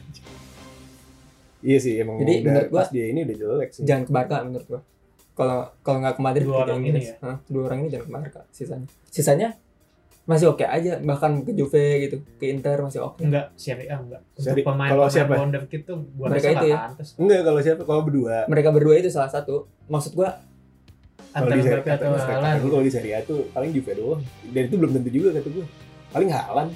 Speaker 3: Iya sih emang
Speaker 1: Jadi,
Speaker 3: udah-
Speaker 1: menurut gua,
Speaker 3: pas dia ini udah jelek sih.
Speaker 1: Jangan ke Barca menurut gua. Kalau kalau nggak ke Madrid
Speaker 2: Iya. Dua
Speaker 1: ke
Speaker 2: orang ini
Speaker 1: Inggris.
Speaker 2: ya?
Speaker 1: Hah, dua orang ini jangan ke Barca sisanya. Sisanya masih oke aja bahkan ke Juve gitu, ke Inter masih oke.
Speaker 2: Enggak, Serie A enggak. Untuk
Speaker 3: Seri-
Speaker 2: pemain
Speaker 3: kalau
Speaker 2: pemain
Speaker 3: siapa?
Speaker 2: wonderkid tuh gua
Speaker 1: Mereka
Speaker 2: rasa
Speaker 1: itu ya?
Speaker 2: nggak pantas.
Speaker 3: Enggak kalau siapa kalau berdua
Speaker 1: Mereka berdua itu salah satu. Maksud gua
Speaker 3: kalau
Speaker 2: Antara
Speaker 3: di seri
Speaker 2: Mbappe atau
Speaker 3: kata- kata
Speaker 2: Haaland.
Speaker 3: gua
Speaker 1: gitu.
Speaker 3: kalau di Serie A tuh paling Juve doang dan itu belum tentu juga kata gue paling Halan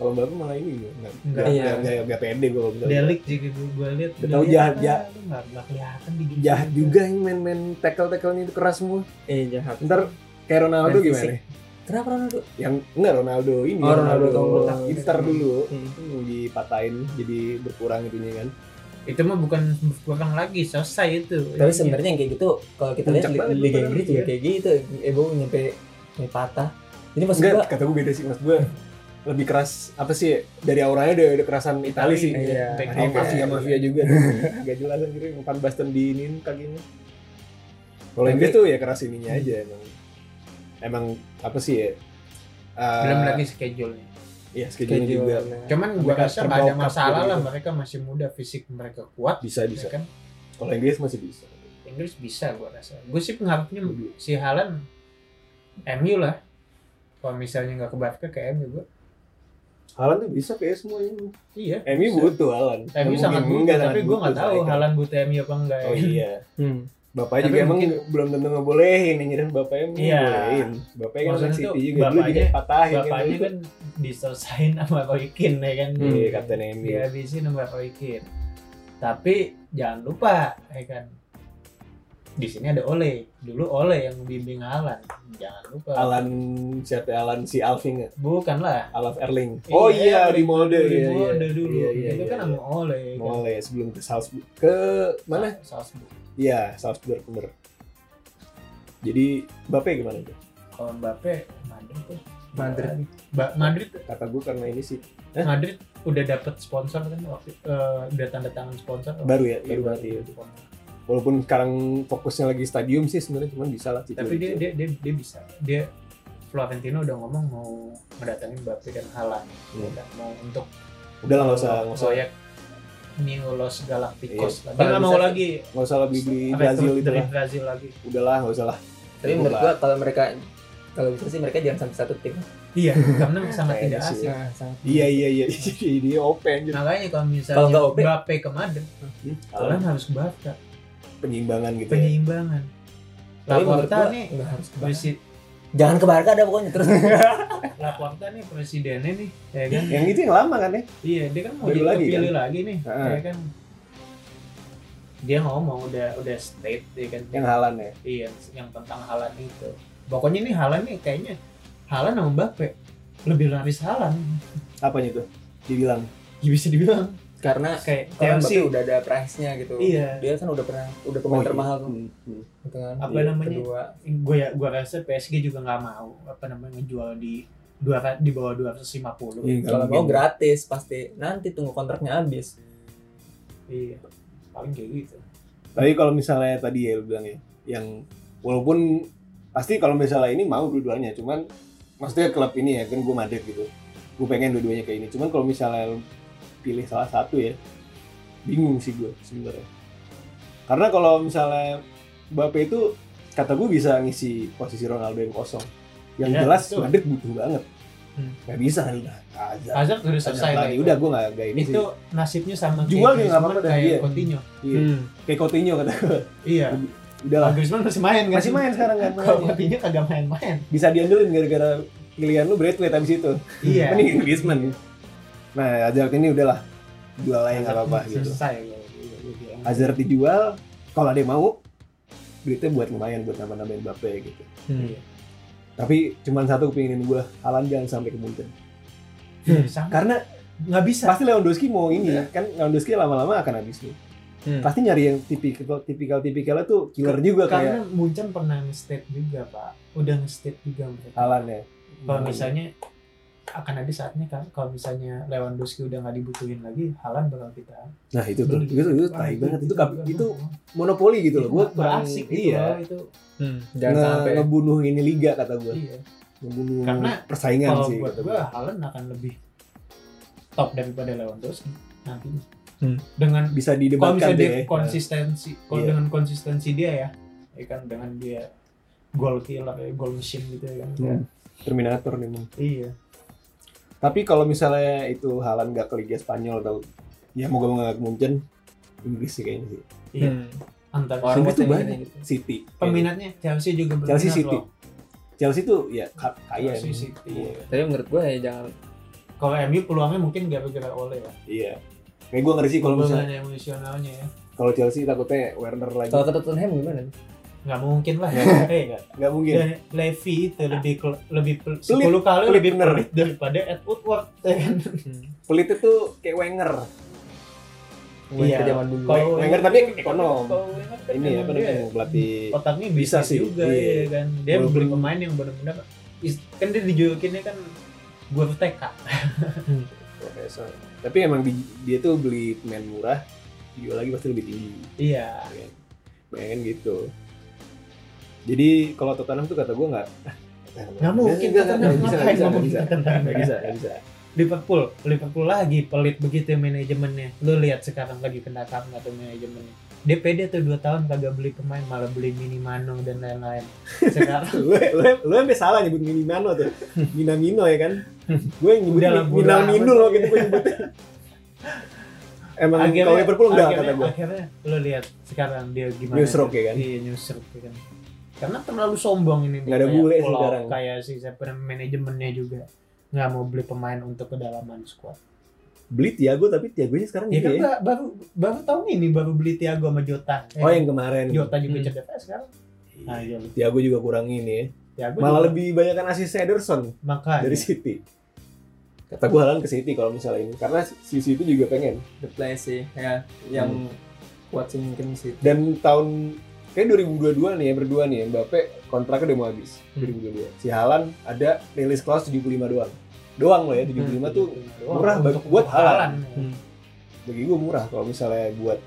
Speaker 3: kalau Mbappe malah ini gue nggak
Speaker 2: Enggak.
Speaker 3: nggak
Speaker 1: Iya.
Speaker 3: nggak- nggak nggak pede gue kalau bilang.
Speaker 2: Delik juga gua, gua lihat.
Speaker 3: iya. Udah tahu jahat, jahat.
Speaker 2: Enggak enggak kelihatan di
Speaker 3: jahat juga yang main-main tackle-tackle itu keras semua
Speaker 1: eh jahat.
Speaker 3: ntar kayak Ronaldo
Speaker 1: Main
Speaker 3: gimana ya?
Speaker 1: Kenapa Ronaldo?
Speaker 3: yang enggak Ronaldo ini
Speaker 1: Oh, Ronaldo
Speaker 3: Ronaldo
Speaker 1: tahun
Speaker 3: Inter
Speaker 2: lalu.
Speaker 3: dulu
Speaker 1: Hmm.
Speaker 3: Hmm, dipatahin jadi berkurang itunya kan
Speaker 2: Itu mah bukan kurang lagi, selesai itu.
Speaker 1: Tapi sebenarnya yang kayak gitu kalau kita lihat
Speaker 3: Puncak
Speaker 1: li-
Speaker 3: banget
Speaker 1: Liga
Speaker 3: beneran,
Speaker 1: Inggris juga
Speaker 3: iya.
Speaker 1: kayak gitu. Ebo nyampe nyampe patah. Jadi maksud
Speaker 3: enggak
Speaker 1: gua
Speaker 3: kata gue beda sih mas gue lebih keras apa sih dari auranya udah, udah kerasan Itali sih
Speaker 1: Iya.
Speaker 2: Back
Speaker 3: Ada yang
Speaker 2: off.
Speaker 3: mafia mafia juga Iya. [LAUGHS] gak jelas anjir yang Van Basten diinin kakinya kalau
Speaker 1: Tapi-
Speaker 3: Inggris tuh ya keras ininya
Speaker 2: Hmm.
Speaker 3: aja emang emang apa sih ya Eh,
Speaker 2: belum lagi schedule-nya.
Speaker 3: ya
Speaker 1: kayak
Speaker 3: schedule
Speaker 1: gitu.
Speaker 3: juga
Speaker 2: Cuman gua
Speaker 3: Mereka
Speaker 2: rasa nggak ada
Speaker 3: terbokap
Speaker 2: masalah
Speaker 3: gitu.
Speaker 2: lah, mereka masih muda, fisik mereka kuat.
Speaker 3: bisa bisa
Speaker 2: ya kan?
Speaker 3: kalau Inggris masih bisa
Speaker 2: Inggris bisa gua rasa. Gue sih pengharapnya
Speaker 3: Lebih.
Speaker 2: si Haaland MU lah. Kalau misalnya nggak ke Barca ke MU gua.
Speaker 3: Haaland tuh bisa kayak semuanya
Speaker 2: Iya.
Speaker 3: Emi
Speaker 2: bisa.
Speaker 3: butuh Haaland
Speaker 2: MU
Speaker 3: Mungkin
Speaker 2: sangat butuh,
Speaker 3: enggak,
Speaker 2: tapi
Speaker 3: sangat
Speaker 2: gue nggak
Speaker 3: butuh
Speaker 2: tahu
Speaker 3: striker.
Speaker 2: Haaland butuh MU apa enggak. ya.
Speaker 3: oh iya
Speaker 1: Hmm.
Speaker 3: Bapaknya
Speaker 2: Tapi
Speaker 3: juga emang
Speaker 2: mungkin-
Speaker 3: belum tentu ngebolehin ngirim bapaknya emang
Speaker 2: Iya.
Speaker 3: ngebolehin. Bapaknya kan
Speaker 2: Maksudnya
Speaker 3: Maksudnya City
Speaker 2: tuh,
Speaker 3: juga dulu juga
Speaker 2: bapaknya-
Speaker 3: patahin
Speaker 2: Bapaknya kan diselesain sama Roy Keane ya kan.
Speaker 1: Hmm.
Speaker 3: Iya, Kapten Emi.
Speaker 2: Dihabisin sama Roy Keane. Tapi jangan lupa ya kan. Di sini ada Ole. Dulu Ole yang membimbing Haaland. Jangan lupa.
Speaker 3: Alan siapa Alan si Alvin nggak?
Speaker 2: Bukan lah.
Speaker 3: Alan Erling.
Speaker 2: Iya,
Speaker 3: Oh iya, di Molde
Speaker 2: Dulu
Speaker 3: iya, iya.
Speaker 2: Molde dulu.
Speaker 3: Iya, iya,
Speaker 2: Itu
Speaker 3: iya,
Speaker 2: kan
Speaker 3: iya.
Speaker 2: sama Ole. ya kan.
Speaker 3: Molde sebelum ke Salzburg ke mana?
Speaker 2: Sa- Salzburg.
Speaker 3: Iya, Salzburg bener. Jadi Bapaknya gimana tuh?
Speaker 2: Kalau Mbappe Madrid tuh.
Speaker 1: Madrid.
Speaker 2: Ba- Madrid
Speaker 3: Kata gue karena ini sih
Speaker 2: Madrid udah dapet sponsor kan waktu eh, udah tanda tangan sponsor
Speaker 3: baru ya,
Speaker 2: Iya,
Speaker 3: baru banget ya.
Speaker 2: sponsor.
Speaker 3: Walaupun sekarang fokusnya lagi stadium sih sebenarnya cuman bisa lah.
Speaker 2: tapi dia,
Speaker 3: iya.
Speaker 2: dia dia dia bisa dia Florentino udah ngomong mau mendatangin Mbappe dan Haaland Ya
Speaker 3: Hmm.
Speaker 2: kan? mau untuk
Speaker 3: udah lah nggak usah nggak usah Iya.
Speaker 2: proyek New Los Galacticos lah. dia
Speaker 1: Kalau
Speaker 2: nggak
Speaker 1: bisa
Speaker 2: mau
Speaker 1: sih.
Speaker 2: lagi
Speaker 3: nggak usah lebih beli
Speaker 2: apa, ya,
Speaker 3: Brazil
Speaker 2: dari
Speaker 3: itu lah.
Speaker 2: Brazil lagi
Speaker 3: Udahlah nggak usah lah.
Speaker 1: Tapi menurut gua kalau mereka kalau bisa sih mereka jangan sampai satu tim.
Speaker 2: iya karena sangat
Speaker 3: Kayaknya
Speaker 2: tidak
Speaker 3: sih.
Speaker 2: asik
Speaker 1: Nah, sangat.
Speaker 3: Iya iya iya [LAUGHS] jadi dia open jadi
Speaker 2: makanya kalau
Speaker 1: Kalau
Speaker 2: misalnya
Speaker 1: nggak Ope-
Speaker 2: Mbappe ke
Speaker 3: Ah.
Speaker 2: Madrid Haaland harus ke Barca
Speaker 3: Iya. penyimbangan gitu. Ya.
Speaker 2: penyeimbangan
Speaker 1: Tapi menurut
Speaker 2: Laporta
Speaker 1: gua
Speaker 2: nih
Speaker 1: nggak harus ke Barca.
Speaker 2: presi-
Speaker 1: Jangan ke Barca ada pokoknya terus.
Speaker 2: Laporta nih presidennya nih ya kan
Speaker 3: Yang itu yang lama kan ya?
Speaker 2: Iya, dia kan mau
Speaker 3: Baru
Speaker 2: jadi
Speaker 3: lagi, Ah.
Speaker 2: kepilih lagi nih.
Speaker 3: Heeh.
Speaker 2: Ya kan. Dia ngomong udah udah state ya kan.
Speaker 3: Yang halan ya.
Speaker 2: Iya, yang tentang Halan itu. Pokoknya nih Halan nih kayaknya Halan sama Mbappe lebih laris Halan.
Speaker 3: Apanya tuh? Dibilang.
Speaker 2: Ya bisa dibilang
Speaker 1: Karena
Speaker 2: kayak
Speaker 1: kalau Mbappe
Speaker 2: Chelsea.
Speaker 1: udah ada price-nya gitu.
Speaker 2: Iya.
Speaker 1: Dia kan udah pernah udah pemain
Speaker 3: Oh, iya.
Speaker 1: termahal tuh.
Speaker 3: Hmm, hmm.
Speaker 1: Gitu kan.
Speaker 2: Apa
Speaker 3: Iya,
Speaker 2: namanya?
Speaker 1: Kedua.
Speaker 2: Gue ya gue rasa PSG juga nggak mau apa namanya ngejual di dua di bawah 250.
Speaker 3: Iya, nggak
Speaker 1: Kalau
Speaker 3: mungkin.
Speaker 1: mau gratis pasti nanti tunggu kontraknya habis.
Speaker 2: Iya. Paling kayak gitu.
Speaker 3: Tapi kalau misalnya tadi ya lu bilang ya, yang walaupun pasti kalau misalnya ini mau dua-duanya, cuman maksudnya klub ini ya kan gue Madrid gitu, gue pengen dua-duanya kayak ini. Cuman kalau misalnya lu pilih salah satu ya, bingung sih gue sebenarnya. Karena kalau misalnya Mbappe itu kata gue bisa ngisi posisi Ronaldo yang kosong. Yang
Speaker 2: Iya,
Speaker 3: jelas
Speaker 2: betul.
Speaker 3: Madrid butuh banget.
Speaker 2: Hmm.
Speaker 3: Gak bisa kan udah. Azab.
Speaker 2: Hazard udah selesai lah
Speaker 3: lagi.
Speaker 2: itu.
Speaker 3: Udah gue gak, gak ini
Speaker 2: itu nasibnya sama
Speaker 3: Jual juga
Speaker 2: kayak
Speaker 3: nggak apa-apa
Speaker 2: Griezmann,
Speaker 3: dah,
Speaker 2: kayak
Speaker 3: iya.
Speaker 2: Coutinho.
Speaker 3: sih. Iya. Kayak Coutinho kata gue.
Speaker 2: Iya.
Speaker 3: Udah lah.
Speaker 2: Nah, Griezmann Hmm. masih main kan?
Speaker 3: Masih main sekarang kan.
Speaker 2: Kalau Coutinho kagak
Speaker 3: [LAUGHS]
Speaker 2: main-main.
Speaker 3: bisa diandelin gara-gara pilihan lu Braithwaite abis itu.
Speaker 2: Iya.
Speaker 3: Mending Griezmann. Nah, Hazard ini udahlah. Jual aja nggak apa-apa
Speaker 2: Hazard
Speaker 3: gitu.
Speaker 2: Selesai. ya, iya, iya.
Speaker 3: Hazard dijual, kalau ada yang mau, duitnya buat lumayan buat nambah-nambahin Mbappe gitu.
Speaker 1: Hmm.
Speaker 2: Iya.
Speaker 3: Tapi cuman satu kepingin gue, Haaland jangan sampai ke Munchen. Hmm.
Speaker 2: Sama.
Speaker 3: Karena
Speaker 2: Nggak bisa.
Speaker 3: pasti Lewandowski mau ini, kan Lewandowski lama-lama akan habis nih.
Speaker 1: Hmm.
Speaker 3: Pasti nyari yang tipikal tipikal tipikalnya tuh killer juga kayak
Speaker 2: Karena Munchen pernah nge-state juga, Pak. Udah nge-state juga mereka.
Speaker 3: Haaland ya.
Speaker 2: kalau misalnya akan ada saatnya kan kalau misalnya Lewandowski udah nggak dibutuhin lagi Halan bakal kita
Speaker 3: Nah itu tuh, itu itu tai banget itu kap- itu monopoli gitu loh. Gue
Speaker 2: gue asik gitu loh
Speaker 3: iya.
Speaker 2: itu
Speaker 4: Hmm.
Speaker 1: Jangan
Speaker 3: nge-
Speaker 1: sampai.
Speaker 3: ngebunuh ini liga kata gue,
Speaker 2: iya
Speaker 3: ngebunuh
Speaker 2: Karena
Speaker 3: persaingan
Speaker 2: kalau
Speaker 3: Iya sih.
Speaker 2: buat
Speaker 3: kata
Speaker 2: gue Halan akan lebih top daripada Lewandowski nantinya
Speaker 4: Hmm.
Speaker 2: dengan
Speaker 3: gua. Bisa
Speaker 2: kalau
Speaker 3: didebatkan
Speaker 2: misalnya dia
Speaker 3: deh.
Speaker 2: konsistensi kalau
Speaker 3: ya. Iya.
Speaker 2: dengan konsistensi dia ya ya kan dengan dia goal killer ya, goal machine gitu ya kan
Speaker 3: Hmm. Terminator nih Mung.
Speaker 2: iya
Speaker 3: Tapi kalau misalnya itu Halan gak ke Liga Spanyol atau ya moga-moga gak ke Munchen, Inggris sih kayaknya sih.
Speaker 2: Iya.
Speaker 4: Hmm.
Speaker 2: antar
Speaker 1: Orang
Speaker 3: Inggris
Speaker 1: pasti
Speaker 3: tuh banyak.
Speaker 1: gitu.
Speaker 3: City.
Speaker 2: peminatnya Chelsea juga berminat
Speaker 3: Chelsea City.
Speaker 2: loh
Speaker 3: Chelsea tuh ya ka- kaya.
Speaker 2: Chelsea
Speaker 3: nih.
Speaker 2: City
Speaker 3: Iya.
Speaker 1: Tapi menurut gue ya jangan
Speaker 2: kalau MU peluangnya mungkin gara-gara Ole ya
Speaker 3: Iya. Kayak gue ngeri sih kalau misalnya
Speaker 2: peluangnya emosionalnya ya
Speaker 3: kalau Chelsea takutnya Werner lagi.
Speaker 1: kalau ke Tottenham gimana?
Speaker 2: nggak mungkin lah
Speaker 3: Nggak,
Speaker 2: Eh,
Speaker 3: Gak mungkin. Iya.
Speaker 2: dan Levi itu lebih kel- lebih pel-
Speaker 3: Pelit,
Speaker 2: 10 kali
Speaker 3: pelit
Speaker 2: lebih
Speaker 3: bener. Iya.
Speaker 2: pelit daripada Ed Woodward ya kan?
Speaker 3: Pelitnya tuh kayak Wenger.
Speaker 1: Iya.
Speaker 2: Iya.
Speaker 1: Ke zaman dulu.
Speaker 2: Kalau
Speaker 3: Wenger
Speaker 2: Wenger-
Speaker 3: tapi ekonom.
Speaker 2: kalau Wenger kan
Speaker 3: Ini ya apa
Speaker 2: memang dia
Speaker 3: namanya pelatih
Speaker 2: otaknya
Speaker 3: Bisa
Speaker 2: bisa
Speaker 3: sih,
Speaker 2: sih juga
Speaker 3: iya.
Speaker 2: ya kan dia
Speaker 3: Walaupun-
Speaker 2: beli pemain yang benar-benar is- kan dia dijulukinnya kan gua TK
Speaker 3: profesor. Tapi emang di- dia tuh beli pemain murah, jual lagi pasti lebih tinggi. ya
Speaker 2: iya
Speaker 3: Bayangin gitu. Jadi kalau Tottenham tuh kata gue nggak
Speaker 2: nggak mungkin
Speaker 3: nggak, nggak,
Speaker 2: Tottenham
Speaker 3: nggak
Speaker 2: ngapain
Speaker 3: bisa, nggak bisa,
Speaker 2: nggak
Speaker 3: nggak
Speaker 2: mungkin
Speaker 3: bisa,
Speaker 2: Tottenham
Speaker 3: nggak bisa, nggak
Speaker 2: [LAUGHS]
Speaker 3: bisa.
Speaker 2: Liverpool Liverpool lagi pelit begitu manajemennya lu lihat sekarang lagi kena kam nggak tuh manajemennya DPD tuh 2 tahun kagak beli pemain malah beli mini Mano dan
Speaker 3: [LAUGHS]
Speaker 2: lain-lain sekarang
Speaker 3: Lu, lu, lu sampai salah nyebut Minamino tuh, Minamino ya kan? Gue yang nyebut
Speaker 2: Udah lah, bodo
Speaker 3: Minamino
Speaker 2: amat.
Speaker 3: loh gitu gue nyebutnya. Emang kalau Liverpool udah kata
Speaker 2: akhirnya,
Speaker 3: gue,
Speaker 2: akhirnya lu lihat sekarang dia gimana
Speaker 3: Newsrock ya kan?
Speaker 2: iya newsrock ya kan karena terlalu sombong ini
Speaker 3: Nggak ada
Speaker 2: Kayak
Speaker 3: bule sih
Speaker 2: pulau,
Speaker 3: sekarang.
Speaker 2: kayak si siapa namanya, manajemennya juga nggak mau beli pemain untuk kedalaman squad
Speaker 3: beli Tiago tapi Tiago nya sekarang
Speaker 2: ya
Speaker 3: gitu
Speaker 2: kan
Speaker 3: ya.
Speaker 2: ba- baru baru tahun ini baru beli Thiago sama Jota Eh,
Speaker 3: Oh yang kemarin.
Speaker 2: Jota juga
Speaker 4: Hmm.
Speaker 2: cedera sekarang nah iya
Speaker 3: Tiago juga kurang ini ya.
Speaker 2: Thiago juga-
Speaker 3: Malah lebih banyak kan asis Ederson
Speaker 2: makanya
Speaker 3: dari City. Kata gue halan ke City kalau misalnya ini karena si City juga pengen.
Speaker 1: The play sih ya yang
Speaker 3: Hmm.
Speaker 1: kuat sih mungkin sih.
Speaker 3: Dan tahun kayak 2022 nih ya berdua nih ya, Mbappe kontraknya udah mau habis
Speaker 4: Hmm.
Speaker 3: 2022. Si Halan ada release clause 75 doang. Doang loh ya
Speaker 2: Hmm.
Speaker 3: 75 tuh murah
Speaker 2: Untuk-
Speaker 3: bagi- buat
Speaker 2: untuk
Speaker 3: Haaland.
Speaker 2: ya.
Speaker 4: Hmm.
Speaker 3: bagi gue murah kalau misalnya buat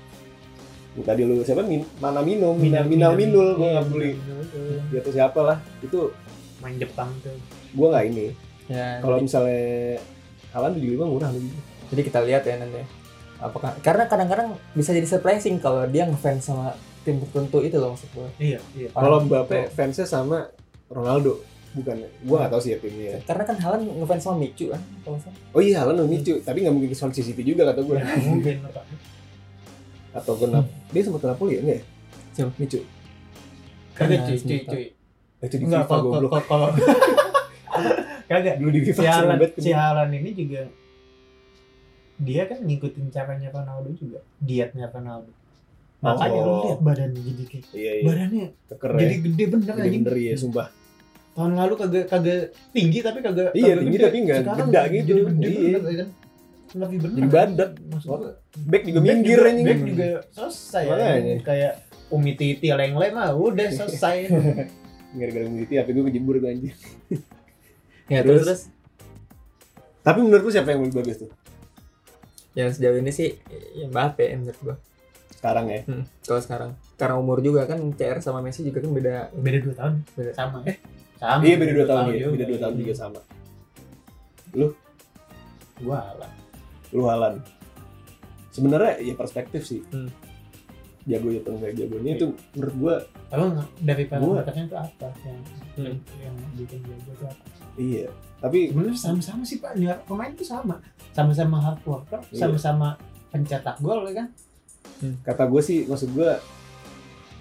Speaker 3: tadi lu siapa min, mana minum mina
Speaker 2: Minal-
Speaker 3: mina minul
Speaker 2: Minal-
Speaker 3: gue nggak
Speaker 2: Minal-
Speaker 3: beli
Speaker 2: Minal tuh.
Speaker 3: dia tuh siapa lah itu
Speaker 2: main Jepang tuh
Speaker 3: gue nggak ini
Speaker 1: Ya.
Speaker 3: kalau misalnya Halan 75 murah lagi
Speaker 1: Jadi kita lihat ya nanti apakah karena kadang-kadang bisa jadi surprising kalau dia ngefans sama tim tertentu itu loh maksud gue.
Speaker 2: iya iya
Speaker 3: Kalau
Speaker 1: Orang
Speaker 3: Mbappe fansnya sama Ronaldo, bukan? Gua nggak tahu sih ya timnya. ya.
Speaker 1: Karena kan Halan ngefans sama Micu kan. kalau nggak salah.
Speaker 3: Oh iya, Haaland lebih lucu, tapi nggak mungkin ke Swansea City juga kata gue.
Speaker 2: Ya, nggak mungkin apa
Speaker 3: Atau ke Nap- Dia sempat ke Napoli ya nggak? ya?
Speaker 1: Siapa?
Speaker 3: Micu.
Speaker 2: kagak
Speaker 1: Karena
Speaker 2: cuy cuy
Speaker 1: sebentar.
Speaker 2: cuy
Speaker 3: Itu di
Speaker 2: Enggak,
Speaker 3: FIFA
Speaker 2: kalau
Speaker 3: goblok.
Speaker 2: kalau kalau [LAUGHS] kagak
Speaker 3: Dulu di FIFA
Speaker 2: si
Speaker 3: sering
Speaker 2: Alan,
Speaker 3: banget.
Speaker 2: si Alan ini juga dia kan ngikutin caranya Ronaldo juga dietnya Ronaldo makanya lu
Speaker 3: Oh.
Speaker 2: lihat badannya jadi kayak
Speaker 3: Iya iya.
Speaker 2: badannya
Speaker 3: Keker ya.
Speaker 2: jadi gede bener
Speaker 3: Jadi
Speaker 2: aja
Speaker 3: bener ya, sumpah.
Speaker 2: tahun lalu kagak kagak tinggi tapi kagak
Speaker 3: Iya,
Speaker 2: kagak
Speaker 3: tinggi
Speaker 2: gede.
Speaker 3: tapi nggak
Speaker 2: Sekarang
Speaker 3: geda
Speaker 2: jadi
Speaker 3: gitu.
Speaker 2: gede
Speaker 3: Iya.
Speaker 2: bener, ya kan? lebih bener
Speaker 3: Jadi badak.
Speaker 2: Maksud gua,
Speaker 3: Back juga
Speaker 2: back
Speaker 3: minggir
Speaker 2: juga-
Speaker 3: anjing.
Speaker 2: back juga selesai ya.
Speaker 3: Makanya.
Speaker 2: kayak Umi Titi Lengle mah udah
Speaker 3: [LAUGHS]
Speaker 2: selesai
Speaker 3: Gara-gara Miti, tapi gue kejebur gue anjir.
Speaker 1: Ya terus,
Speaker 3: Terus?
Speaker 1: terus
Speaker 3: Tapi menurut lu siapa yang lebih bagus tuh?
Speaker 1: yang sejauh ini sih ya Mbappe menurut gue.
Speaker 3: Sekarang ya.
Speaker 1: Hmm, kalau sekarang karena umur juga kan CR sama Messi juga kan beda
Speaker 2: beda dua tahun
Speaker 1: Beda.
Speaker 2: sama ya sama
Speaker 3: Iya beda 2 tahun ya,
Speaker 2: juga.
Speaker 3: beda 2 tahun juga sama.
Speaker 2: gua lah
Speaker 3: Lu Halan. Sebenarnya ya perspektif sih.
Speaker 1: Hmm.
Speaker 3: Jago atau enggak jagonya itu
Speaker 2: Iya.
Speaker 3: menurut gue
Speaker 2: emang dari
Speaker 3: Gua.
Speaker 2: parameternya itu apa yang
Speaker 1: Hmm.
Speaker 2: yang bikin jago itu apa
Speaker 3: Iya, tapi
Speaker 2: sebenarnya sama-sama sih pak Ini pemain itu sama sama-sama hard worker
Speaker 3: Iya.
Speaker 2: sama-sama pencetak gol ya kan
Speaker 3: kata gue sih maksud gue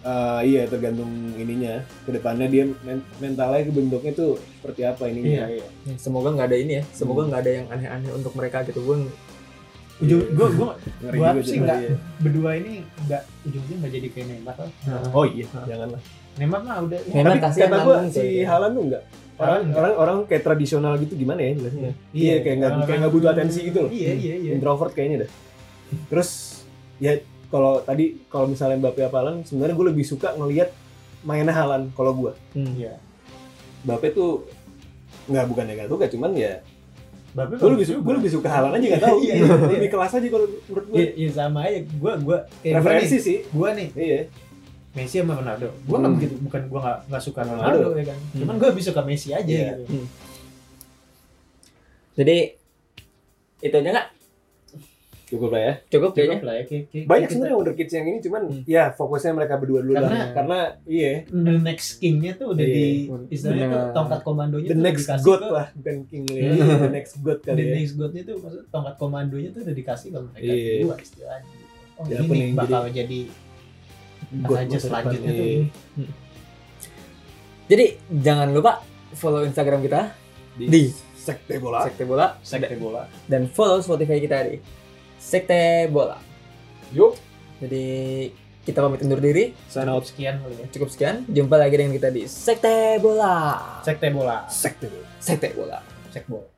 Speaker 3: eh, iya tergantung ininya kedepannya dia men- mentalnya bentuknya tuh seperti apa ininya.
Speaker 2: iya
Speaker 1: Ya, semoga nggak ada ini ya semoga nggak ada yang aneh-aneh untuk mereka gitu gue
Speaker 2: ujung gua gua
Speaker 3: Ngeri
Speaker 2: Gua
Speaker 3: juga
Speaker 2: sih
Speaker 3: sih iya.
Speaker 2: nggak.
Speaker 3: dia.
Speaker 2: berdua ini nggak ujungnya nggak jadi kayak Neymar lah
Speaker 3: Oh iya, janganlah.
Speaker 2: Neymar mah udah ya.
Speaker 1: Neymar
Speaker 3: Tapi
Speaker 1: kasihan
Speaker 3: kata gue
Speaker 1: nanggung
Speaker 3: si
Speaker 1: soalnya.
Speaker 3: Halan tuh enggak. Orang
Speaker 2: Halan nggak.
Speaker 3: orang orang kayak tradisional gitu gimana ya jelasnya. Iya, kayak nggak-
Speaker 2: orang-
Speaker 3: kayak nggak butuh atensi gitu loh.
Speaker 2: iya iya iya
Speaker 3: Introvert kayaknya dah. Terus ya kalau tadi kalau misalnya Mbappe apa Halan sebenarnya gue
Speaker 1: Hmm, Iya.
Speaker 3: lebih suka ngelihat mainnya Halan kalau gue.
Speaker 2: iya
Speaker 3: Mbappe tuh nggak bukan gak suka cuman ya
Speaker 2: Babe
Speaker 3: gue lebih suka gue lebih suka halan aja nggak tahu
Speaker 2: Iya, iya, iya.
Speaker 3: lebih kelas aja kalau menurut gue
Speaker 2: Iya, iya, sama aja. Gua gua kayak Iya, gua
Speaker 3: referensi
Speaker 2: nih,
Speaker 3: sih
Speaker 2: gua nih
Speaker 3: iya
Speaker 2: Messi sama Ronaldo. Gua nggak
Speaker 1: Hmm.
Speaker 2: begitu bukan gua nggak nggak suka
Speaker 3: Ronaldo. Hmm.
Speaker 2: Ronaldo ya kan. Cuman gua lebih suka Messi aja
Speaker 3: Iya.
Speaker 2: gitu.
Speaker 1: Jadi itu aja nggak
Speaker 3: cukup lah ya
Speaker 1: cukup kayaknya.
Speaker 2: Cukup lah ya, kayak- kayak-
Speaker 3: banyak
Speaker 2: kayak
Speaker 3: sebenarnya Wonder Kids yang ini cuman
Speaker 1: Hmm.
Speaker 3: ya fokusnya mereka berdua dulu
Speaker 2: Karena-
Speaker 3: lah karena iya
Speaker 2: kita- the next kingnya tuh udah
Speaker 3: Iya.
Speaker 2: di istilahnya tuh
Speaker 1: Bener.
Speaker 2: tongkat komandonya
Speaker 3: the
Speaker 2: tuh udah
Speaker 3: next
Speaker 2: Iya, dikasih
Speaker 3: god
Speaker 2: ke-
Speaker 3: lah Ben King Lee.
Speaker 1: Iya.
Speaker 3: the next god kali
Speaker 2: the
Speaker 3: ya
Speaker 2: next godnya tuh maksudnya tongkat komandonya tuh udah dikasih ke mereka
Speaker 3: Iya.
Speaker 2: berdua istilahnya. Oh
Speaker 3: Siapa
Speaker 2: ini
Speaker 3: nih
Speaker 2: nih
Speaker 3: yang
Speaker 2: bakal jadi raja
Speaker 3: God masa depan.
Speaker 2: selanjutnya tuh.
Speaker 3: Iya.
Speaker 1: Jadi jangan lupa follow Instagram kita
Speaker 3: di
Speaker 1: di
Speaker 3: sekte bola
Speaker 1: Sekte Bola
Speaker 2: Sekte bola.
Speaker 1: dan follow Spotify kita di Sekte Bola.
Speaker 3: yuk
Speaker 1: Jadi kita pamit undur diri.
Speaker 3: sign out
Speaker 2: Sekian kali ya.
Speaker 1: Cukup sekian. Jumpa lagi dengan kita di Sekte Bola.
Speaker 2: Sekte bola.
Speaker 3: sekte bola
Speaker 1: Sekte Bola.
Speaker 2: Sekte bola.